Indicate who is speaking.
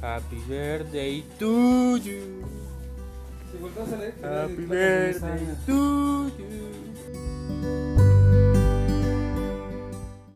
Speaker 1: Happy birthday to you.
Speaker 2: Si vuelves a leer,
Speaker 1: Happy birthday to you.